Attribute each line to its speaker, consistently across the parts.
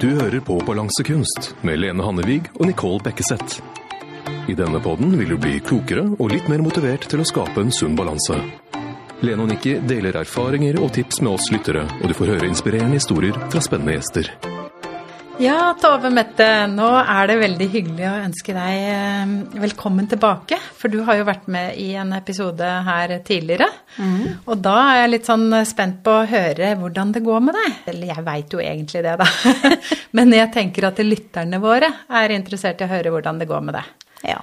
Speaker 1: Du hører på Balansekunst med Lene Hannevig og Nicole Bekkeseth. I denne podden vil du bli klokere og litt mer motivert til å skape en sunn balanse. Lene og Nikki deler erfaringer og tips med oss lyttere, og du får høre inspirerende historier fra spennende gjester.
Speaker 2: Ja, Tove Mette, nå er det veldig hyggelig å ønske deg eh, velkommen tilbake. For du har jo vært med i en episode her tidligere.
Speaker 3: Mhm.
Speaker 2: Og da er jeg litt sånn spent på å høre hvordan det går med deg. Eller jeg veit jo egentlig det, da. Men jeg tenker at lytterne våre er interessert i å høre hvordan det går med deg.
Speaker 3: Ja.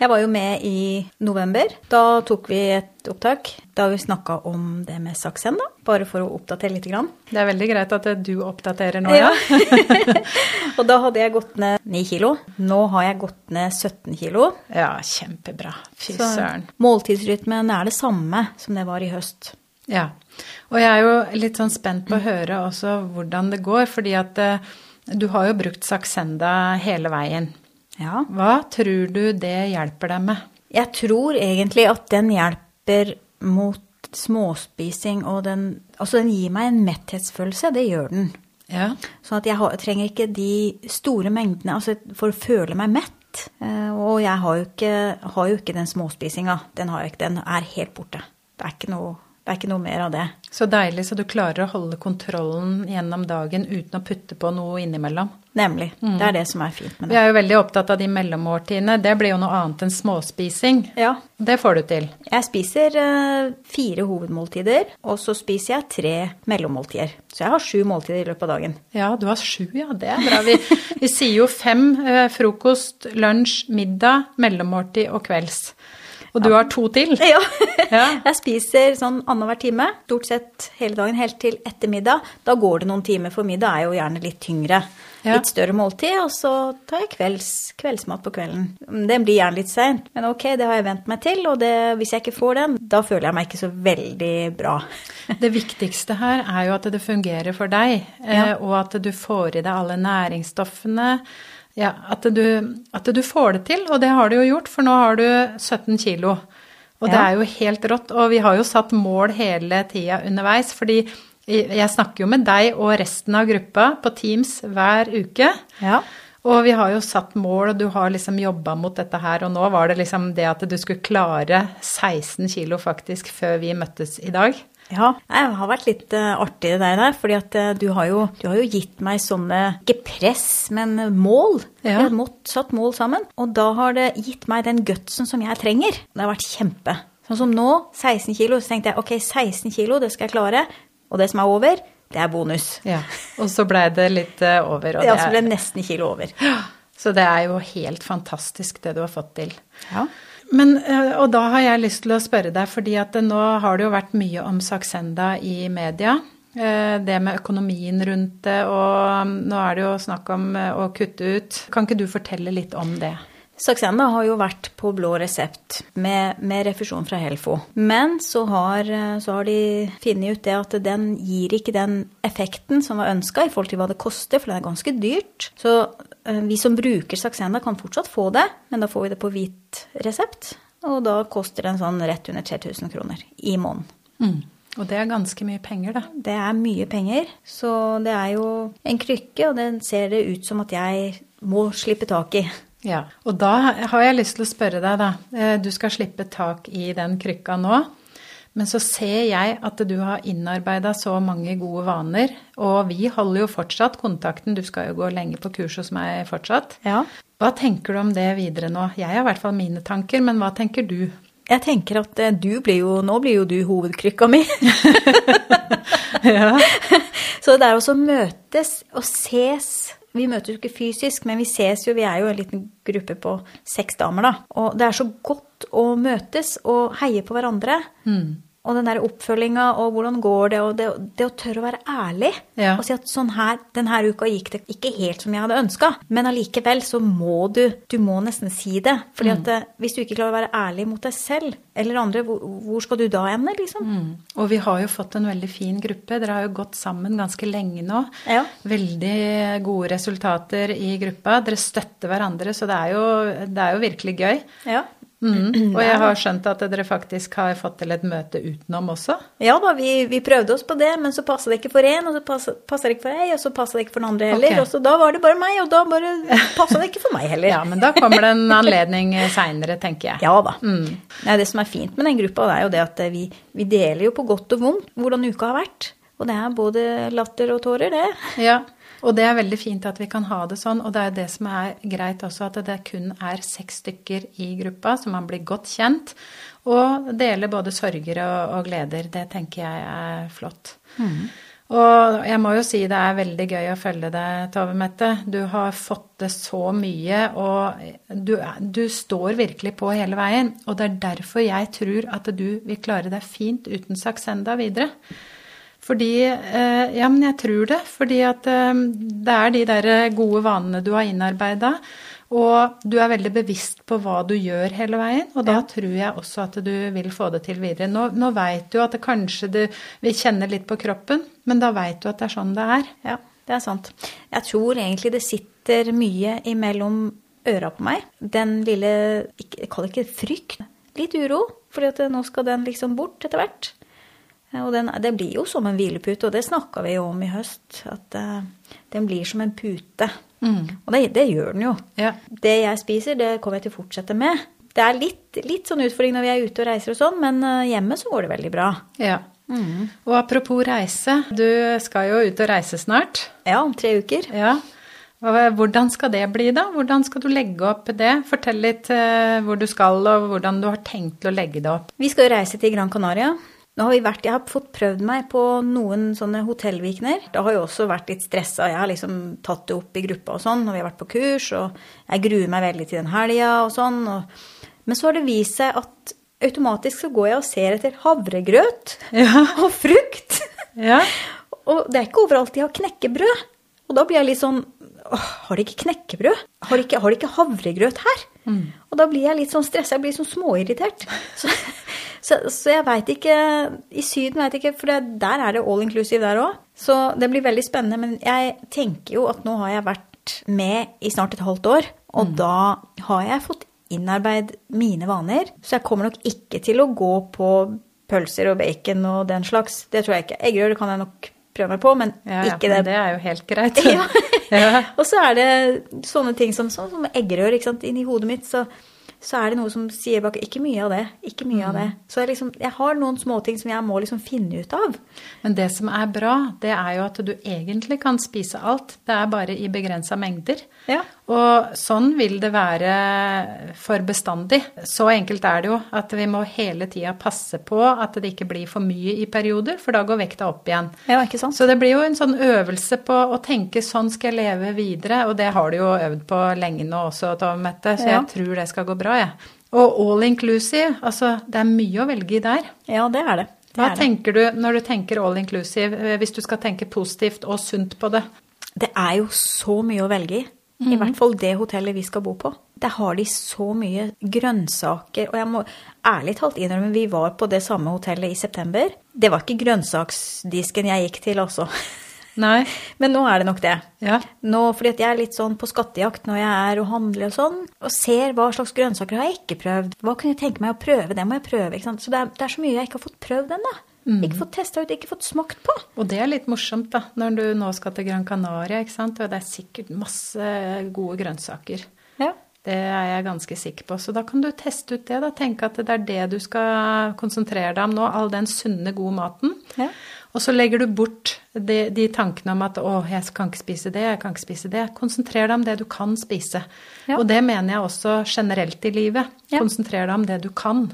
Speaker 3: Jeg var jo med i november. Da tok vi et opptak da vi snakka om det med saksen, da. Bare for å oppdatere lite grann.
Speaker 2: Det er veldig greit at du oppdaterer nå,
Speaker 3: Ja.
Speaker 2: ja.
Speaker 3: og da hadde jeg gått ned 9 kilo. Nå har jeg gått ned 17 kilo.
Speaker 2: Ja, kjempebra. Fy
Speaker 3: Så
Speaker 2: søren.
Speaker 3: måltidsrytmen er det samme som det var i høst.
Speaker 2: Ja. Og jeg er jo litt sånn spent på å høre også hvordan det går, fordi at eh, du har jo brukt Saxenda hele veien.
Speaker 3: Ja.
Speaker 2: Hva tror du det hjelper deg med?
Speaker 3: Jeg tror egentlig at den hjelper mot småspising, og den Altså, den gir meg en metthetsfølelse. Det gjør den.
Speaker 2: Ja.
Speaker 3: Sånn at jeg har, trenger ikke de store mengdene altså for å føle meg mett. Eh, Og jeg har jo ikke, har jo ikke den småspisinga. Den, har jeg ikke, den er helt borte. Det er, ikke noe, det er ikke noe mer av det.
Speaker 2: Så deilig så du klarer å holde kontrollen gjennom dagen uten å putte på noe innimellom.
Speaker 3: Nemlig. Det er det som er fint med
Speaker 2: Vi
Speaker 3: det.
Speaker 2: er jo veldig opptatt av de mellommåltidene. Det blir jo noe annet enn småspising.
Speaker 3: Ja.
Speaker 2: Det får du til.
Speaker 3: Jeg spiser eh, fire hovedmåltider, og så spiser jeg tre mellommåltider. Så jeg har sju måltider i løpet av dagen.
Speaker 2: Ja, du har sju, ja. Det er bra. Vi, vi sier jo fem. Eh, frokost, lunsj, middag, mellommåltid og kvelds. Og du har to til.
Speaker 3: Ja.
Speaker 2: Ja.
Speaker 3: Jeg spiser sånn annenhver time, stort sett hele dagen, helt til ettermiddag. Da går det noen timer, for middag er jo gjerne litt tyngre.
Speaker 2: Ja.
Speaker 3: Litt større måltid, og så tar jeg kvelds, kveldsmat på kvelden. Den blir gjerne litt seint, men ok, det har jeg vent meg til, og det, hvis jeg ikke får den, da føler jeg meg ikke så veldig bra.
Speaker 2: Det viktigste her er jo at det fungerer for deg, eh, og at du får i deg alle næringsstoffene. Ja, at du, at du får det til, og det har du jo gjort, for nå har du 17 kilo. Og det
Speaker 3: Ja.
Speaker 2: er jo helt rått. Og vi har jo satt mål hele tida underveis, fordi jeg snakker jo med deg og resten av gruppa på Teams hver uke.
Speaker 3: Ja.
Speaker 2: Og vi har jo satt mål, og du har liksom jobba mot dette her. Og nå var det liksom det at du skulle klare 16 kilo faktisk før vi møttes i dag.
Speaker 3: Ja, Nei, det har vært litt eh, artig det der, fordi at eh, du har, jo, du har jo gitt meg sånne, ikke press, men eh, mål. Vi
Speaker 2: Ja.
Speaker 3: har mått, satt mål sammen, og da har det gitt meg den gutsen som jeg trenger. Det har vært kjempe. Sånn som nå, 16 kilo, så tenkte jeg ok, 16 kilo, det skal jeg klare, og det som er over, det er bonus.
Speaker 2: Ja, og så blei det litt eh, over. Og
Speaker 3: Det altså
Speaker 2: det
Speaker 3: ble
Speaker 2: er,
Speaker 3: nesten kilo over.
Speaker 2: så det er jo helt fantastisk det du har fått til.
Speaker 3: Ja.
Speaker 2: Men, eh, og da har jeg lyst til å spørre deg, fordi at eh, nå har det jo vært mye om Saxenda i media. eh, Det med økonomien rundt det, og mm, nå er det jo snakk om eh, å kutte ut. Kan ikke du fortelle litt om det?
Speaker 3: Saksenda har jo vært på blå resept med, med refusjon fra Helfo. Men så har, så har de funnet ut det at den gir ikke den effekten som var ønska i forhold til hva det koster, for det er ganske dyrt. Så eh, vi som bruker Saksenda kan fortsatt få det, men da får vi det på hvit resept. Og da koster den sånn rett under 3000 kroner i måneden.
Speaker 2: Og det er ganske mye penger, da.
Speaker 3: Det er mye penger, så det er jo en krykke, og den ser det ut som at jeg må slippe tak i.
Speaker 2: Ja, og da har jeg lyst til å spørre deg, da. Eh, Du skal slippe tak i den krykka nå. Men så ser jeg at du har innarbeida så mange gode vaner. Og vi holder jo fortsatt kontakten. Du skal jo gå lenge på kurs hos meg fortsatt.
Speaker 3: Ja.
Speaker 2: Hva tenker du om det videre nå? Jeg har i hvert fall mine tanker, men hva tenker du?
Speaker 3: Jeg tenker at eh, du blir jo, nå blir jo du hovedkrykka mi. Så det er også å møtes og ses. Vi møtes jo ikke fysisk, men vi ses jo. Vi er jo en liten gruppe på seks damer, da. Og det er så godt å møtes og heie på hverandre. Og den der oppfølginga og hvordan går det, og det, det å tørre å være ærlig
Speaker 2: Ja.
Speaker 3: og si at sånn her, denne uka gikk det ikke helt som jeg hadde ønska, men allikevel så må du Du må nesten si det. fordi at eh, hvis du ikke klarer å være ærlig mot deg selv eller andre, hvor, hvor skal du da ende, liksom?
Speaker 2: Og vi har jo fått en veldig fin gruppe. Dere har jo gått sammen ganske lenge nå.
Speaker 3: Ja.
Speaker 2: Veldig gode resultater i gruppa. Dere støtter hverandre, så det er jo, det er jo virkelig gøy.
Speaker 3: Ja.
Speaker 2: Mm. Og jeg har skjønt at dere faktisk har fått til et møte utenom også.
Speaker 3: Ja da, vi, vi prøvde oss på det, men så passa det ikke for én, og så passa passa det ikke for ei, og så passa det ikke for den andre heller.
Speaker 2: Ok.
Speaker 3: Og så da var det bare meg, og da bare passa det ikke for meg heller.
Speaker 2: Ja, men da kommer det en anledning seinere, tenker jeg. Mm.
Speaker 3: Ja da. Nei, det som er fint med den gruppa, det er jo det at eh, vi, vi deler jo på godt og vondt hvordan uka har vært. Og det er både latter og tårer, det.
Speaker 2: Ja, og det er veldig fint at vi kan ha det sånn, og det er det som er greit også, at det kun er seks stykker i gruppa, så man blir godt kjent, og deler både sorger og, og gleder. Det tenker jeg er flott. Og jeg må jo si det er veldig gøy å følge deg, Tove Mette. Du har fått det så mye, og du, er- du står virkelig på hele veien. Og det er derfor jeg tror at du vil klare deg fint uten Saksenda videre. Fordi eh, Ja, men jeg tror det. Fordi at eh, det er de der gode vanene du har innarbeida. Og du er veldig bevisst på hva du gjør hele veien, og da tror jeg også at du vil få det til videre. Nå, nå veit du at det kanskje du vil kjenne litt på kroppen, men da veit du at det er sånn det er.
Speaker 3: Ja, det er sant. Jeg tror egentlig det sitter mye imellom øra på meg. Den lille ikke, Jeg kaller det ikke frykt. Litt uro, fordi at nå skal den liksom bort etter hvert. Eh, Og den, det blir jo som en hvilepute, og det snakka vi jo om i høst. At eh, den blir som en pute. Og det, det gjør den jo.
Speaker 2: Ja.
Speaker 3: Det jeg spiser, det kommer jeg til å fortsette med. Det er litt, litt sånn utfordring når vi er ute og reiser og sånn, men eh, hjemme så går det veldig bra.
Speaker 2: Ja. Og apropos reise, du skal jo ut og reise snart.
Speaker 3: Ja, om tre uker.
Speaker 2: Ja. Hva- Hvordan skal det bli, da? Hvordan skal du legge opp det? Fortell litt eh, hvor du skal, og hvordan du har tenkt å legge det opp.
Speaker 3: Vi skal jo reise til Gran Canaria. Nå har vi vært, Jeg har fått prøvd meg på noen sånne hotellvikener. Da har jeg også vært litt stressa. Jeg har liksom tatt det opp i gruppa og sånn, og vi har vært på kurs, og jeg gruer meg veldig til den helga og sånn. Og... Men så har det vist seg at automatisk så går jeg og ser etter havregrøt
Speaker 2: Ja.
Speaker 3: og frukt.
Speaker 2: Ja.
Speaker 3: Og det er ikke overalt de har knekkebrød. Og da blir jeg litt sånn Åh, har de ikke knekkebrød? Har de ikke, har de ikke havregrøt her? Og da blir jeg litt sånn stressa, jeg blir sånn småirritert. Så, så, så jeg veit ikke I Syden veit jeg ikke, for det, der er det all inclusive der òg. Så det blir veldig spennende. Men jeg tenker jo at nå har jeg vært med i snart et halvt år, og da har jeg fått innarbeid mine vaner. Så jeg kommer nok ikke til å gå på pølser og bacon og den slags. Det tror jeg ikke. Eggerøre kan jeg nok prøve meg på, men
Speaker 2: Ja, ja,
Speaker 3: ikke
Speaker 2: men
Speaker 3: det.
Speaker 2: det er jo helt greit.
Speaker 3: Ja.
Speaker 2: Ja.
Speaker 3: og så er det sånne ting som, sånn som eggerør ikke sant? inni hodet mitt. Så, så er det noe som sier bak Ikke mye av det. Ikke mye av det.
Speaker 2: Mm.
Speaker 3: Så jeg, liksom, jeg har noen småting som jeg må liksom finne ut av.
Speaker 2: Men det som er bra, det er jo at du egentlig kan spise alt. Det er bare i begrensa mengder.
Speaker 3: Ja.
Speaker 2: Og sånn vil det være for bestandig. Så enkelt er det jo at vi må hele tida passe på at det ikke blir for mye i perioder, for da går vekta opp igjen.
Speaker 3: Ja, ikke sant?
Speaker 2: Så det blir jo en sånn øvelse på å tenke sånn skal jeg leve videre, og det har du jo øvd på lenge nå også, Tove Mette, så
Speaker 3: Ja.
Speaker 2: jeg tror det skal gå bra, jeg. Og all inclusive, altså det er mye å velge i der.
Speaker 3: Ja, det er det. det,
Speaker 2: Hva
Speaker 3: er det.
Speaker 2: tenker du når du tenker all inclusive, eh, hvis du skal tenke positivt og sunt på det?
Speaker 3: det er jo så mye å velge i. I hvert fall det hotellet vi skal bo på. Der har de så mye grønnsaker. Og jeg må ærlig talt innrømme, vi var på det samme hotellet i september. Det var ikke grønnsaksdisken jeg gikk til, altså.
Speaker 2: Nei.
Speaker 3: Men nå er det nok det.
Speaker 2: Ja.
Speaker 3: Nå, fordi at jeg er litt sånn på skattejakt når jeg er og handler og sånn, og ser hva slags grønnsaker har jeg ikke prøvd. Hva kunne jeg tenke meg å prøve? Det må jeg prøve. ikke sant? Så det er, det er så mye jeg ikke har fått prøvd ennå. Ikke fått testa ut, ikke fått smakt på.
Speaker 2: Og det er litt morsomt, da, når du nå skal til Gran Canaria, ikke sant, og det er sikkert masse gode grønnsaker.
Speaker 3: Ja.
Speaker 2: Det er jeg ganske sikker på. Så da kan du teste ut det. da. Tenke at det er det du skal konsentrere deg om nå. All den sunne, gode maten.
Speaker 3: Ja.
Speaker 2: Og så legger du bort de, de tankene om at å, jeg kan ikke spise det, jeg kan ikke spise det. Konsentrer deg om det du kan spise.
Speaker 3: Ja.
Speaker 2: Og det mener jeg også generelt i livet.
Speaker 3: Ja.
Speaker 2: Konsentrer deg om det du kan.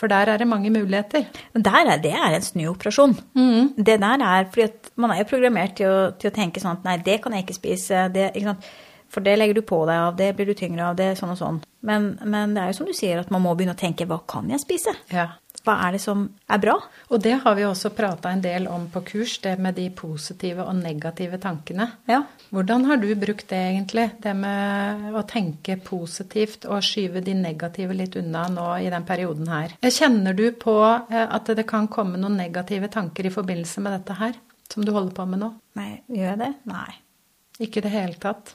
Speaker 2: For der er det mange muligheter.
Speaker 3: Men der er, det er en snuoperasjon.
Speaker 2: Mm.
Speaker 3: Det der er fordi at man er jo programmert til å, til å tenke sånn at nei, det kan jeg ikke spise. Det, ikke sant? For det legger du på deg av, det blir du tyngre av, det sånn og sånn. Men, men det er jo som du sier, at man må begynne å tenke hva kan jeg spise?
Speaker 2: Ja.
Speaker 3: Hva er det som er bra?
Speaker 2: Og det har vi også prata en del om på kurs, det med de positive og negative tankene.
Speaker 3: Ja.
Speaker 2: Hvordan har du brukt det egentlig, det med å tenke positivt og skyve de negative litt unna nå i den perioden her? Kjenner du på eh, at det kan komme noen negative tanker i forbindelse med dette her, som du holder på med nå?
Speaker 3: Nei, gjør jeg det? Nei.
Speaker 2: Ikke i det hele tatt?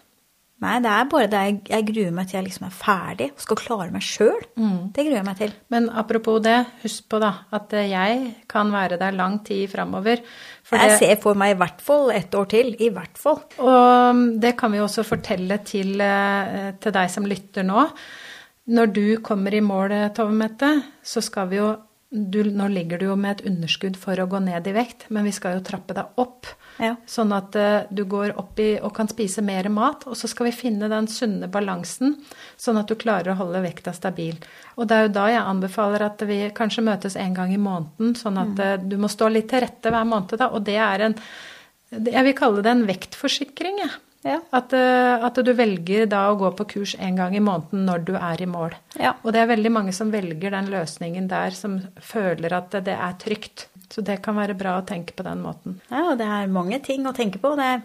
Speaker 3: Nei, det er bare det jeg, jeg gruer meg til jeg liksom er ferdig og skal klare meg sjøl.
Speaker 2: Mm.
Speaker 3: Det gruer jeg meg til.
Speaker 2: Men apropos det, husk på da at eh, jeg kan være der lang tid framover. For
Speaker 3: Jeg
Speaker 2: det,
Speaker 3: ser for meg i hvert fall ett år til. I hvert fall.
Speaker 2: og det kan vi jo også fortelle til, eh, til deg som lytter nå. Når du kommer i mål, eh, Tove Mette, så skal vi jo du, Nå ligger du jo med et underskudd for å gå ned i vekt, men vi skal jo trappe deg opp.
Speaker 3: Ja.
Speaker 2: Sånn at eh, du går opp i og kan spise mer mat, og så skal vi finne den sunne balansen, sånn at du klarer å holde vekta stabil. Og det er jo da jeg anbefaler at vi kanskje møtes en gang i måneden, sånn at
Speaker 3: Mm.
Speaker 2: eh, du må stå litt til rette hver måned, da. Og det er en det- Jeg vil kalle det en vektforsikring, jeg.
Speaker 3: Ja.
Speaker 2: At, eh, at du velger da å gå på kurs en gang i måneden når du er i mål.
Speaker 3: Ja.
Speaker 2: Og det er veldig mange som velger den løsningen der, som føler at det er trygt. Så det kan være bra å tenke på den måten.
Speaker 3: Ja, og det er mange ting å tenke på. Det,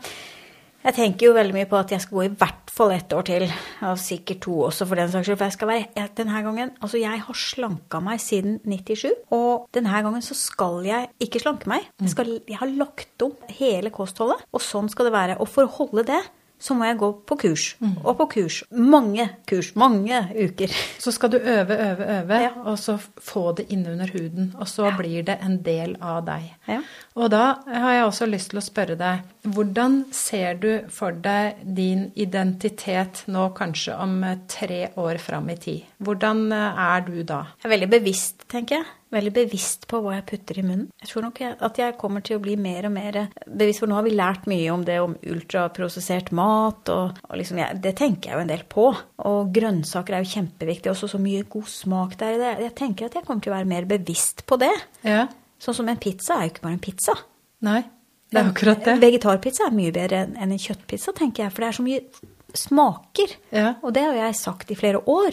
Speaker 3: jeg tenker jo veldig mye på at jeg skal gå i hvert fall ett år til. Og sikkert to også, for den saks skyld. For jeg skal være jeg- denne gangen Altså, jeg har slanka meg siden 97, og denne gangen så skal jeg ikke slanke meg. Jeg, skal, jeg har lagt om hele kostholdet, og sånn skal det være. Og for å holde det, så må jeg gå på kurs. Og på kurs. Mange kurs. Mange uker.
Speaker 2: Så skal du øve, øve, øve,
Speaker 3: Ja.
Speaker 2: og så f- få det innunder huden. Og så blir det en del av deg.
Speaker 3: Ja.
Speaker 2: Og da har jeg også lyst til å spørre deg Hvordan ser du for deg din identitet nå kanskje om eh, tre år fram i tid? Hvordan eh, er du da?
Speaker 3: Jeg er veldig bevisst, tenker jeg. Veldig bevisst på hva jeg putter i munnen. Jeg tror nok jeg- at jeg kommer til å bli mer og mer bevisst, for nå har vi lært mye om det om ultraprosessert mat, og, og liksom jeg, det tenker jeg jo en del på. Og grønnsaker er jo kjempeviktig, også så mye god smak der i det. Jeg tenker at jeg kommer til å være mer bevisst på det.
Speaker 2: Ja?
Speaker 3: Sånn som en pizza er jo ikke bare en pizza.
Speaker 2: Nei? Det er akkurat det.
Speaker 3: En Vegetarpizza er mye bedre enn enn en kjøttpizza, tenker jeg, for det er så mye smaker.
Speaker 2: Ja. Mm.
Speaker 3: Og det har jeg sagt i flere år.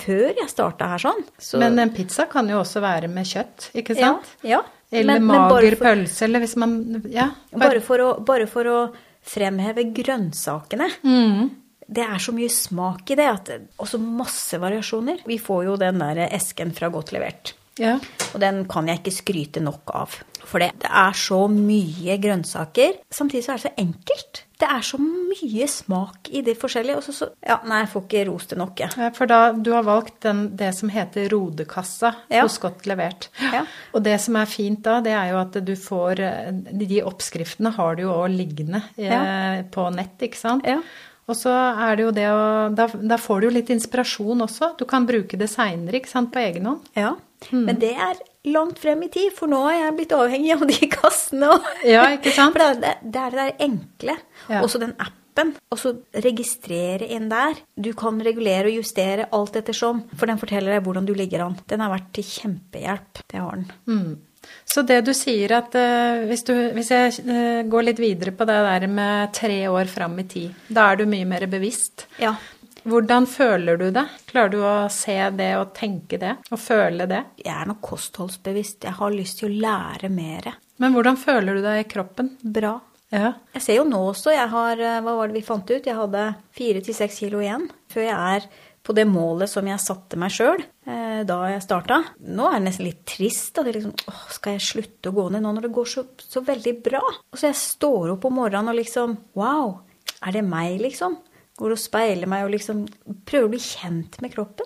Speaker 3: Før jeg starta her sånn. Så-
Speaker 2: Men en pizza kan jo også være med kjøtt, ikke
Speaker 3: Ja,
Speaker 2: sant?
Speaker 3: ja.
Speaker 2: Eller
Speaker 3: Men- men bare
Speaker 2: mager
Speaker 3: for-
Speaker 2: pølse, eller hvis man Ja.
Speaker 3: Bare for å, bare for å fremheve grønnsakene. Det er så mye smak i det, at, og så masse variasjoner. Vi får jo den der esken fra Godt levert.
Speaker 2: ja.
Speaker 3: Og den kan jeg ikke skryte nok av. For det, det er så mye grønnsaker. Samtidig så er det så enkelt. Det er så mye smak i de forskjellige. Og så, så Ja, nei, jeg får ikke rost det nok, jeg.
Speaker 2: Ja, For da, du har valgt den, det som heter rodekassa
Speaker 3: Ja.
Speaker 2: hos Godt levert.
Speaker 3: Ja.
Speaker 2: Og det som er fint da, det er jo at du får eh, De oppskriftene har du jo òg liggende eh,
Speaker 3: Ja.
Speaker 2: på nett, ikke sant?
Speaker 3: Ja.
Speaker 2: Og så er det jo det å da, da får du jo litt inspirasjon også. Du kan bruke det seinere, ikke sant, på egen hånd.
Speaker 3: Ja.
Speaker 2: Hmm.
Speaker 3: Men det er langt frem i tid, for nå er jeg blitt avhengig av de kassene. Og
Speaker 2: Ja, ikke sant?
Speaker 3: For det, er- det er det der enkle.
Speaker 2: Ja.
Speaker 3: Også den appen. Og så registrere inn der. Du kan regulere og justere alt ettersom, for den forteller deg hvordan du ligger an. Den har vært til kjempehjelp. Det har den.
Speaker 2: Mm. Så det du sier at eh, hvis, du, hvis jeg eh, går litt videre på det der med tre år fram i tid, da er du mye mer bevisst.
Speaker 3: Ja.
Speaker 2: Hvordan føler du det? Klarer du å se det og tenke det og føle det?
Speaker 3: Jeg er nok kostholdsbevisst. Jeg har lyst til å lære mer.
Speaker 2: Men hvordan føler du deg i kroppen?
Speaker 3: Bra.
Speaker 2: Ja.
Speaker 3: Jeg ser jo nå også, jeg har, eh, hva var det vi fant ut? Jeg hadde fire til seks kilo igjen før jeg er på det målet som jeg satte meg sjøl eh, da jeg starta. Nå er det nesten litt trist. at det liksom, åh, Skal jeg slutte å gå ned nå når det går så, så veldig bra? Og så jeg står opp om morgenen og liksom Wow, er det meg, liksom? Går og speiler meg og liksom prøver å bli kjent med kroppen.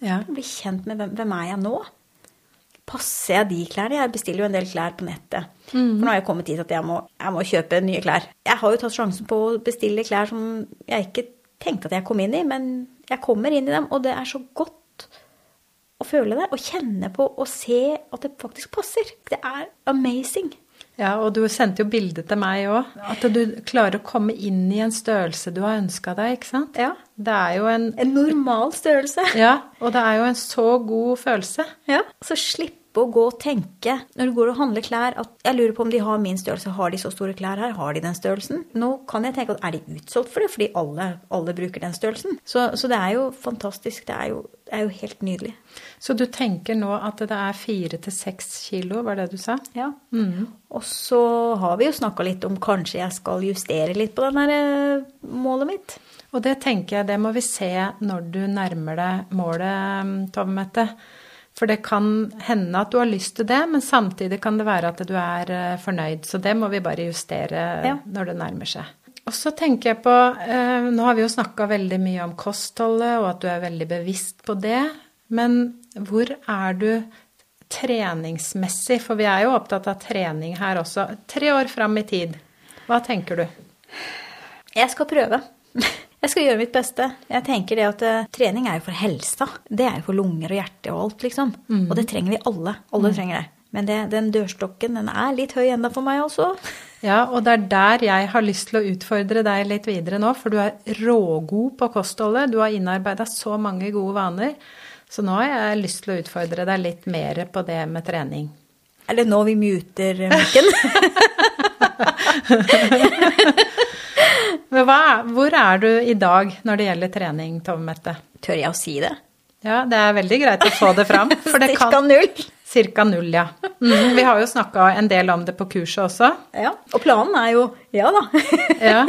Speaker 2: Ja.
Speaker 3: Bli kjent med hvem, hvem er jeg nå? passer jeg de klærne? Jeg bestiller jo en del klær på nettet. For nå har jeg kommet dit at jeg må, jeg må kjøpe nye klær. Jeg har jo tatt sjansen på å bestille klær som jeg ikke tenkte at jeg kom inn i, men jeg kommer inn i dem, og det er så godt å føle det, og kjenne på og se at det faktisk passer. Det er amazing.
Speaker 2: ja, og du sendte jo bilde til meg òg. At du klarer å komme inn i en størrelse du har ønska deg, ikke sant?
Speaker 3: Ja.
Speaker 2: Det er jo en
Speaker 3: En normal størrelse.
Speaker 2: Ja, og det er jo en så god følelse.
Speaker 3: Ja, så slippe å gå og tenke når du går og handler klær at jeg lurer på om de har min størrelse, har de så store klær her, har de den størrelsen? Nå kan jeg tenke at er de utsolgt for det, fordi alle, alle bruker den størrelsen? Så, så det er jo fantastisk, det er jo, det er jo helt nydelig.
Speaker 2: Så du tenker nå at det er fire til seks kilo, var det du sa?
Speaker 3: Ja. Mm. Og så har vi jo snakka litt om kanskje jeg skal justere litt på den der eh, målet mitt.
Speaker 2: Og det tenker jeg, det må vi se når du nærmer deg målet, Tove Mette. For det kan hende at du har lyst til det, men samtidig kan det være at du er eh, fornøyd. Så det må vi bare justere
Speaker 3: Ja.
Speaker 2: når det nærmer seg. Og så tenker jeg på eh, Nå har vi jo snakka veldig mye om kostholdet, og at du er veldig bevisst på det. Men hvor er du treningsmessig? For vi er jo opptatt av trening her også. Tre år fram i tid. Hva tenker du?
Speaker 3: Jeg skal prøve. Jeg skal gjøre mitt beste. Jeg tenker det at eh, Trening er jo for helsa. Det er jo for lunger og hjerte og alt, liksom. Og
Speaker 2: Mm.
Speaker 3: det trenger vi alle. Alle trenger det. Men det, den dørstokken den er litt høy enda for meg, altså.
Speaker 2: Ja, og det er der jeg har lyst til å utfordre deg litt videre nå, for du er rågod på kostholdet. Du har innarbeida så mange gode vaner. Så nå har jeg lyst til å utfordre deg litt mer på det med trening.
Speaker 3: Er det nå vi muter eh, mikken?
Speaker 2: Men hva, er- hvor er du i dag når det gjelder trening, Tove Mette?
Speaker 3: Tør jeg å si det?
Speaker 2: Ja, det er veldig greit å få det fram. For det
Speaker 3: Cirka
Speaker 2: kan
Speaker 3: null.
Speaker 2: Cirka null, ja. Mhm, vi har jo snakka en del om det på kurset også.
Speaker 3: Ja. Og planen er jo ja da.
Speaker 2: Ja.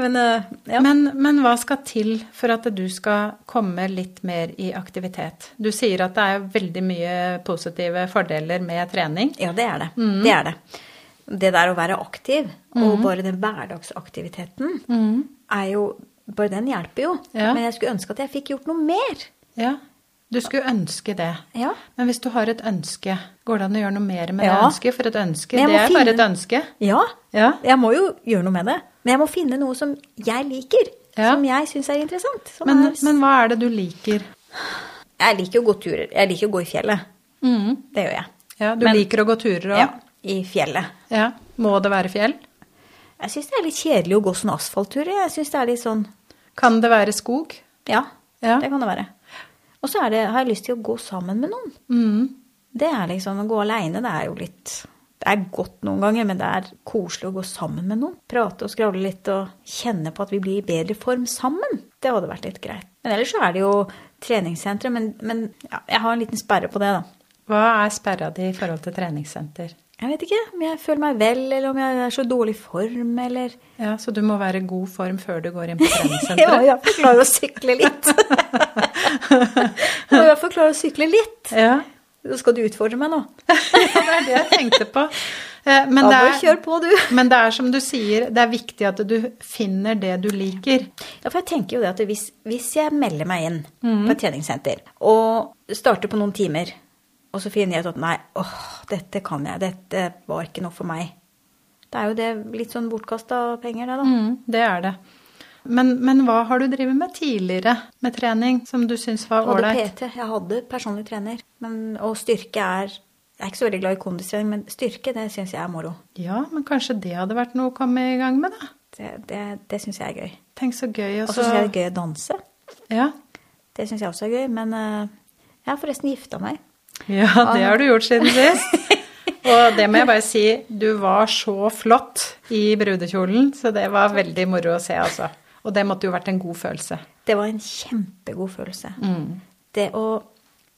Speaker 3: Men eh, ja.
Speaker 2: Men, men hva skal til for at du skal komme litt mer i aktivitet? Du sier at det er veldig mye positive fordeler med trening.
Speaker 3: Ja, det er det.
Speaker 2: Mm.
Speaker 3: Det er det. Det der å være aktiv, og bare den hverdagsaktiviteten, er jo Bare den hjelper jo.
Speaker 2: Mm. Ja.
Speaker 3: Men jeg skulle ønske at jeg fikk gjort noe mer.
Speaker 2: Ja. Du skulle ønske det.
Speaker 3: Ja.
Speaker 2: Men hvis du har et ønske, går det an å gjøre noe mer med det
Speaker 3: Ja.
Speaker 2: ønsket? For et ønske,
Speaker 3: Men jeg
Speaker 2: det
Speaker 3: må
Speaker 2: er bare
Speaker 3: finne-
Speaker 2: et ønske.
Speaker 3: Ja.
Speaker 2: Ja.
Speaker 3: Jeg må jo gjøre noe med det. Men jeg må finne noe som jeg liker.
Speaker 2: Ja.
Speaker 3: Som jeg syns er interessant. Som
Speaker 2: Men,
Speaker 3: er,
Speaker 2: men hva er det du liker?
Speaker 3: Jeg liker jo å gå turer. Jeg liker å gå i fjellet. Det gjør jeg.
Speaker 2: Ja, du
Speaker 3: Mm. Men-
Speaker 2: liker å gå turer
Speaker 3: Ja,
Speaker 2: òg?
Speaker 3: I fjellet.
Speaker 2: Ja. Må det være fjell?
Speaker 3: Jeg syns det er litt kjedelig å gå sånn asfalttur. Jeg syns det er litt sånn
Speaker 2: Kan det være skog?
Speaker 3: Ja,
Speaker 2: Ja.
Speaker 3: det kan det være. Og så er det, har jeg lyst til å gå sammen med noen. Det er liksom Å gå aleine, det er jo litt Det er godt noen ganger, men det er koselig å gå sammen med noen. Prate og skravle litt og kjenne på at vi blir i bedre form sammen. Det hadde vært litt greit. Men ellers så er det jo treningssentre. Men, men ja, jeg har en liten sperre på det, da.
Speaker 2: Hva er sperra di i forhold til treningssenter?
Speaker 3: Jeg vet ikke om jeg føler meg vel, eller om jeg er så dårlig i form, eller
Speaker 2: Ja, Så du må være i god form før du går inn på
Speaker 3: Jeg må i
Speaker 2: treningssenteret?
Speaker 3: hvert fall klare å sykle litt. Jeg må i hvert fall klare å sykle litt.
Speaker 2: ja.
Speaker 3: Så skal du utfordre meg nå.
Speaker 2: Ja, det er det jeg tenkte på. Eh, Men
Speaker 3: Da
Speaker 2: det,
Speaker 3: må du
Speaker 2: er,
Speaker 3: kjøre på, du.
Speaker 2: men det er som du sier, det er viktig at du finner det du liker.
Speaker 3: Ja, for jeg tenker jo det at hvis, hvis jeg melder meg inn på et treningssenter og starter på noen timer, og så finner jeg ut at nei, åh, dette kan jeg, dette var ikke noe for meg. Det er jo det litt sånn bortkasta penger, det da.
Speaker 2: Det er det. Men, men hva har du drevet med tidligere med trening som du syns var
Speaker 3: Jeg hadde
Speaker 2: ålreit?
Speaker 3: PT, jeg hadde personlig trener. Men, og styrke er Jeg er ikke så veldig glad i kondistrening, men styrke det syns jeg er moro.
Speaker 2: Ja, men kanskje det hadde vært noe å komme i gang med, da.
Speaker 3: Det, det, det syns jeg er gøy.
Speaker 2: Tenk så gøy.
Speaker 3: Og så syns jeg det er gøy å danse.
Speaker 2: Ja.
Speaker 3: Det syns jeg også er gøy. Men eh, jeg har forresten gifta meg.
Speaker 2: ja,
Speaker 3: Ah,
Speaker 2: det har du gjort siden sist. Og det må jeg bare si, du var så flott i brudekjolen, så det var veldig moro å se, altså. Og det måtte jo vært en god følelse.
Speaker 3: Det var en kjempegod følelse. Det å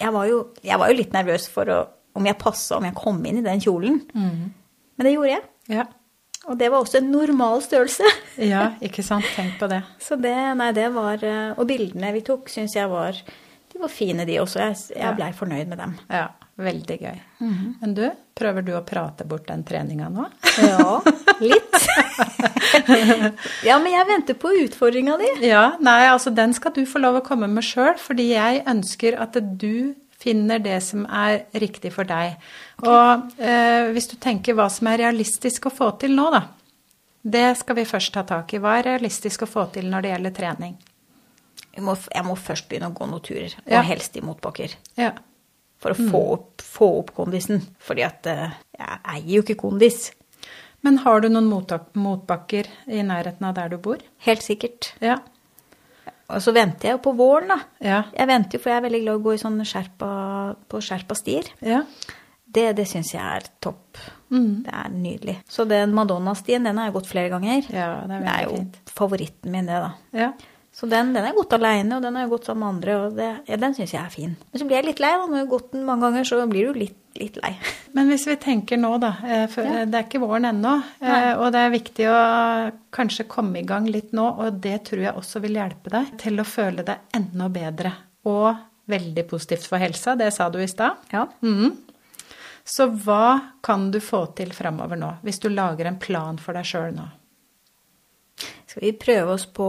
Speaker 3: jeg var, jo, jeg var jo litt nervøs for å, om jeg passa, om jeg kom inn i den kjolen. Men det gjorde jeg.
Speaker 2: Ja.
Speaker 3: Og det var også en normal størrelse.
Speaker 2: Ja, ikke sant. Tenk på det.
Speaker 3: Så det, nei, det var eh, Og bildene vi tok, syns jeg var De var fine, de også. Jeg,
Speaker 2: Ja.
Speaker 3: jeg blei fornøyd med dem.
Speaker 2: Ja, veldig gøy. Men du, prøver du å prate bort den treninga nå?
Speaker 3: Ja, litt. ja, men jeg venter på utfordringa di.
Speaker 2: Ja, nei, altså den skal du få lov å komme med sjøl, fordi jeg ønsker at du finner det som er riktig for deg. Og eh, hvis du tenker hva som er realistisk å få til nå, da. Det skal vi først ta tak i. Hva er realistisk å få til når det gjelder trening?
Speaker 3: Jeg må, jeg må først begynne å gå noen turer,
Speaker 2: Ja.
Speaker 3: og helst i motbakker.
Speaker 2: Ja.
Speaker 3: For å
Speaker 2: Mm.
Speaker 3: få, opp, få opp kondisen. Fordi at eh, jeg eier jo ikke kondis.
Speaker 2: Men har du noen mottak- motbakker i nærheten av der du bor?
Speaker 3: Helt sikkert.
Speaker 2: Ja.
Speaker 3: Og så venter jeg jo på våren, da.
Speaker 2: Ja.
Speaker 3: Jeg venter jo, for jeg er veldig glad i å gå i sånn skjerpa, på skjerpa stier.
Speaker 2: ja.
Speaker 3: Det, det syns jeg er topp.
Speaker 2: Mm.
Speaker 3: Det er nydelig. Så den Madonna-stien, den har jeg gått flere ganger.
Speaker 2: Ja, det er veldig
Speaker 3: jo
Speaker 2: fint.
Speaker 3: favoritten min, det, da.
Speaker 2: ja.
Speaker 3: Så den, den har jeg gått aleine, og den har jeg gått sammen med andre, og det, ja, den syns jeg er fin. Men så blir jeg litt lei, da. Når jeg har gått den mange ganger, så blir du litt, litt lei.
Speaker 2: Men hvis vi tenker nå, da. eh, For eh, det er ikke våren ennå. eh, Og det er viktig å kanskje komme i gang litt nå, og det tror jeg også vil hjelpe deg til å føle deg enda bedre. Og veldig positivt for helsa, det sa du i stad.
Speaker 3: Ja.
Speaker 2: Mhm. Så hva kan du få til framover nå, hvis du lager en plan for deg sjøl nå?
Speaker 3: Skal vi prøve oss på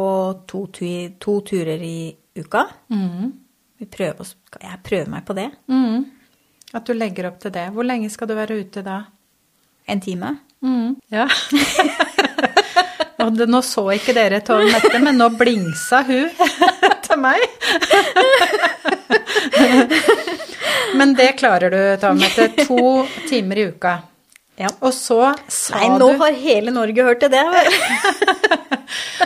Speaker 3: to, tu- to turer i uka? Vi prøver oss, skal jeg prøve meg på det?
Speaker 2: Mm. At du legger opp til det. Hvor lenge skal du være ute da?
Speaker 3: En time?
Speaker 2: Mm. Ja. Og det, nå så ikke dere Tove Mette, men nå blingsa hun til meg. men det klarer du, Tove Mette. To timer i uka.
Speaker 3: Ja.
Speaker 2: Og så sa
Speaker 3: Nei, nå
Speaker 2: du
Speaker 3: har hele Norge hørt til det.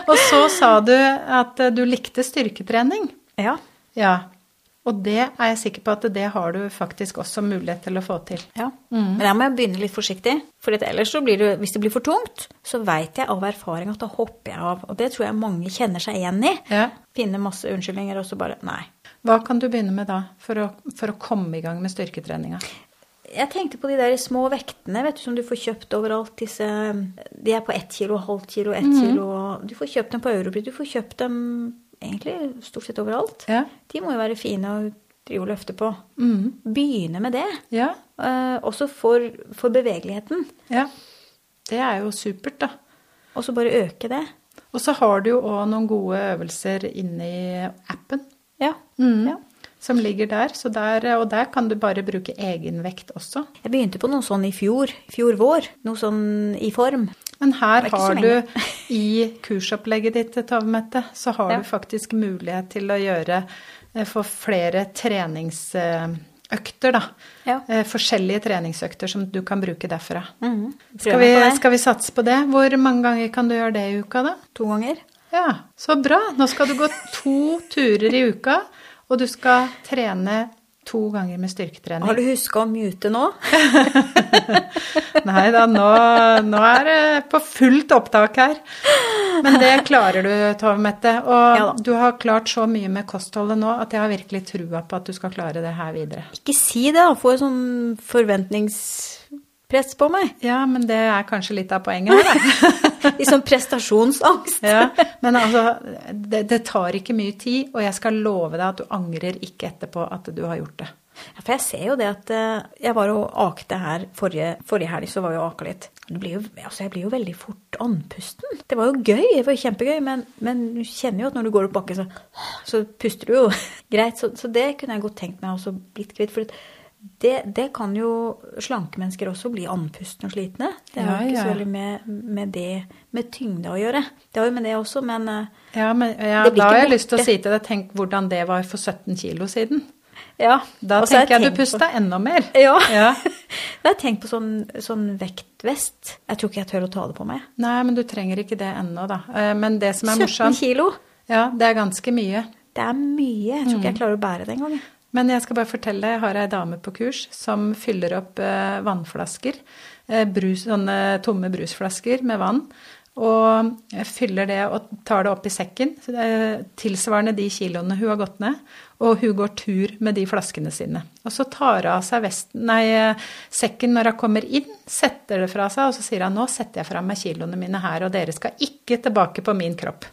Speaker 2: Og så sa du at eh, du likte styrketrening.
Speaker 3: ja.
Speaker 2: Ja. Og det er jeg sikker på at det har du faktisk også mulighet til å få til.
Speaker 3: ja. Men da må jeg begynne litt forsiktig. For at ellers så blir det, hvis det blir for tungt, så veit jeg av erfaring at da hopper jeg av. Og det tror jeg mange kjenner seg igjen i.
Speaker 2: Ja.
Speaker 3: Finner masse unnskyldninger og så bare Nei.
Speaker 2: Hva kan du begynne med da, for å, for å komme i gang med styrketreninga?
Speaker 3: Jeg tenkte på de der små vektene vet du, som du får kjøpt overalt. Disse, de er på ett kilo, halvt kilo,
Speaker 2: Mhm.
Speaker 3: ett kilo. Du får kjøpt dem på Europris. Du får kjøpt dem egentlig stort sett overalt.
Speaker 2: Ja.
Speaker 3: De må jo være fine å drive og løfte på. Begynne med det.
Speaker 2: Mm. Ja.
Speaker 3: Eh, også for, for bevegeligheten.
Speaker 2: Ja. Det er jo supert, da.
Speaker 3: Og så bare øke det.
Speaker 2: Og så har du jo òg noen gode øvelser inni appen
Speaker 3: Ja. ja.
Speaker 2: som ligger der, så der. Og der kan du bare bruke egenvekt også.
Speaker 3: Jeg begynte på noe sånn i fjor. Fjor vår. Noe sånn i form.
Speaker 2: Men her
Speaker 3: Det er ikke så
Speaker 2: har
Speaker 3: lenge.
Speaker 2: du i kursopplegget ditt, Tove Mette, så har
Speaker 3: Ja.
Speaker 2: du faktisk mulighet til å gjøre eh, få flere treningsøkter, da.
Speaker 3: Ja.
Speaker 2: Eh, Forskjellige treningsøkter som du kan bruke derfra.
Speaker 3: Mhm. Prøv
Speaker 2: Skal, vi,
Speaker 3: meg på det.
Speaker 2: skal vi satse på det? Hvor mange ganger kan du gjøre det i uka, da?
Speaker 3: To ganger.
Speaker 2: Ja, så bra. Nå skal du gå to turer i uka, og du skal trene to ganger med styrketrening.
Speaker 3: Har du huska å mute nå?
Speaker 2: Nei da, nå, nå er det på fullt opptak her. Men det klarer du, Tove Mette. Og
Speaker 3: Ja da.
Speaker 2: du har klart så mye med kostholdet nå at jeg har virkelig trua på at du skal klare det her videre.
Speaker 3: Ikke si det, da. Får sånn forventningspress på meg.
Speaker 2: Ja, men det er kanskje litt av poenget her, da.
Speaker 3: Litt sånn prestasjonsangst.
Speaker 2: Ja, men altså, det, det tar ikke mye tid, og jeg skal love deg at du angrer ikke etterpå at du har gjort det.
Speaker 3: Ja, For jeg ser jo det at eh, Jeg var og akte her forrige, forrige helg, så var jeg og aka litt. Det blir jo, altså jeg blir jo veldig fort andpusten. Det var jo gøy, det var jo kjempegøy, men, men du kjenner jo at når du går opp bakken, så, så puster du jo greit. Så, så det kunne jeg godt tenkt meg også blitt kvitt. For det, det kan jo slanke mennesker også bli andpustne og slitne. Det har
Speaker 2: Ja,
Speaker 3: jo ikke så
Speaker 2: ja.
Speaker 3: veldig med, med det med tyngde å gjøre. Det har jo med det også, men eh,
Speaker 2: Ja, men ja,
Speaker 3: Det blir
Speaker 2: da
Speaker 3: ikke
Speaker 2: har jeg lyst til å
Speaker 3: borte.
Speaker 2: si til deg, tenk hvordan det var for 17 kilo siden.
Speaker 3: ja.
Speaker 2: Da
Speaker 3: Og så har
Speaker 2: tenker jeg du
Speaker 3: tenkt på-
Speaker 2: pusta enda mer.
Speaker 3: Ja.
Speaker 2: Ja.
Speaker 3: Da har jeg tenkt på sånn, sånn vektvest. Jeg tror ikke jeg tør å ta det på meg.
Speaker 2: Nei, men du trenger ikke det ennå, da. Eh, Men det som er
Speaker 3: 17
Speaker 2: morsomt
Speaker 3: kilo!
Speaker 2: Ja, det er ganske mye.
Speaker 3: Det er mye. Jeg
Speaker 2: Mm.
Speaker 3: tror ikke jeg klarer å bære det engang. jeg.
Speaker 2: Men jeg skal bare fortelle, jeg har ei dame på kurs som fyller opp eh, vannflasker, eh, brus, sånne tomme brusflasker med vann, og fyller det og tar det opp i sekken, så det er tilsvarende de kiloene hun har gått ned, og hun går tur med de flaskene sine. Og så tar hun av seg vesten, nei, eh, sekken når hun kommer inn, setter det fra seg, og så sier hun nå setter jeg fra meg kiloene mine her, og dere skal ikke tilbake på min kropp.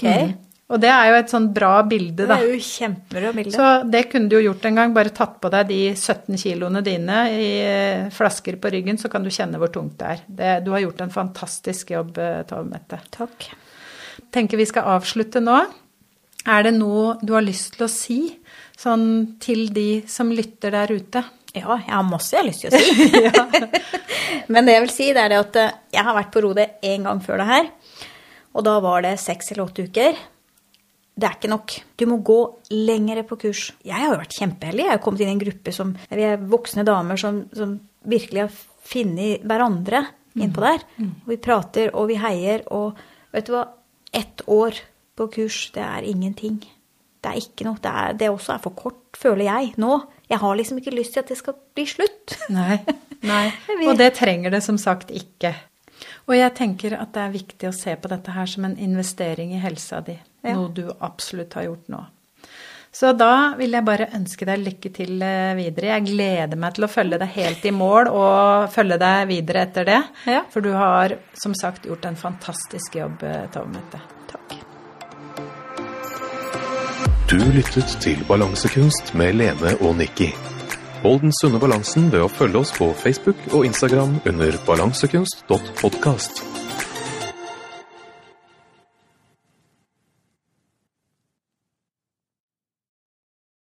Speaker 2: Mm. Og det er jo et sånn bra bilde,
Speaker 3: Det
Speaker 2: da.
Speaker 3: er jo kjempebra bilde.
Speaker 2: Så det kunne du jo gjort en gang. Bare tatt på deg de 17 kiloene dine i eh, flasker på ryggen, så kan du kjenne hvor tungt det er. Det, du har gjort en fantastisk jobb, eh, Tove Mette.
Speaker 3: Takk.
Speaker 2: Tenker vi skal avslutte nå. Er det noe du har lyst til å si sånn til de som lytter der ute?
Speaker 3: Ja, jeg har masse jeg har lyst til å si. Men det jeg vil si, det er det at eh, jeg har vært på Rode én gang før det her. Og da var det seks eller åtte uker. Det er ikke nok. Du må gå lengre på kurs. Jeg har jo vært kjempeheldig. Jeg har kommet inn i en gruppe som Vi er voksne damer som, som virkelig har funnet hverandre innpå der. Og vi prater, og vi heier, og vet du hva? Ett år på kurs, det er ingenting. Det er ikke noe. Det, er, det også er for kort, føler jeg, nå. Jeg har liksom ikke lyst til at det skal bli slutt.
Speaker 2: Nei. Nei. Og det trenger det som sagt ikke. Og jeg tenker at det er viktig å se på dette her som en investering i helsa di.
Speaker 3: Ja.
Speaker 2: Noe du absolutt har gjort nå. Så da vil jeg bare ønske deg lykke til eh, videre. Jeg gleder meg til å følge deg helt i mål og følge deg videre etter det.
Speaker 3: Ja.
Speaker 2: For du har som sagt gjort en fantastisk jobb, eh, Tove Mette. Takk.
Speaker 1: Du lyttet til Balansekunst med Lene og Nikki. Hold den sunne balansen ved å følge oss på Facebook og Instagram under balansekunst.podkast.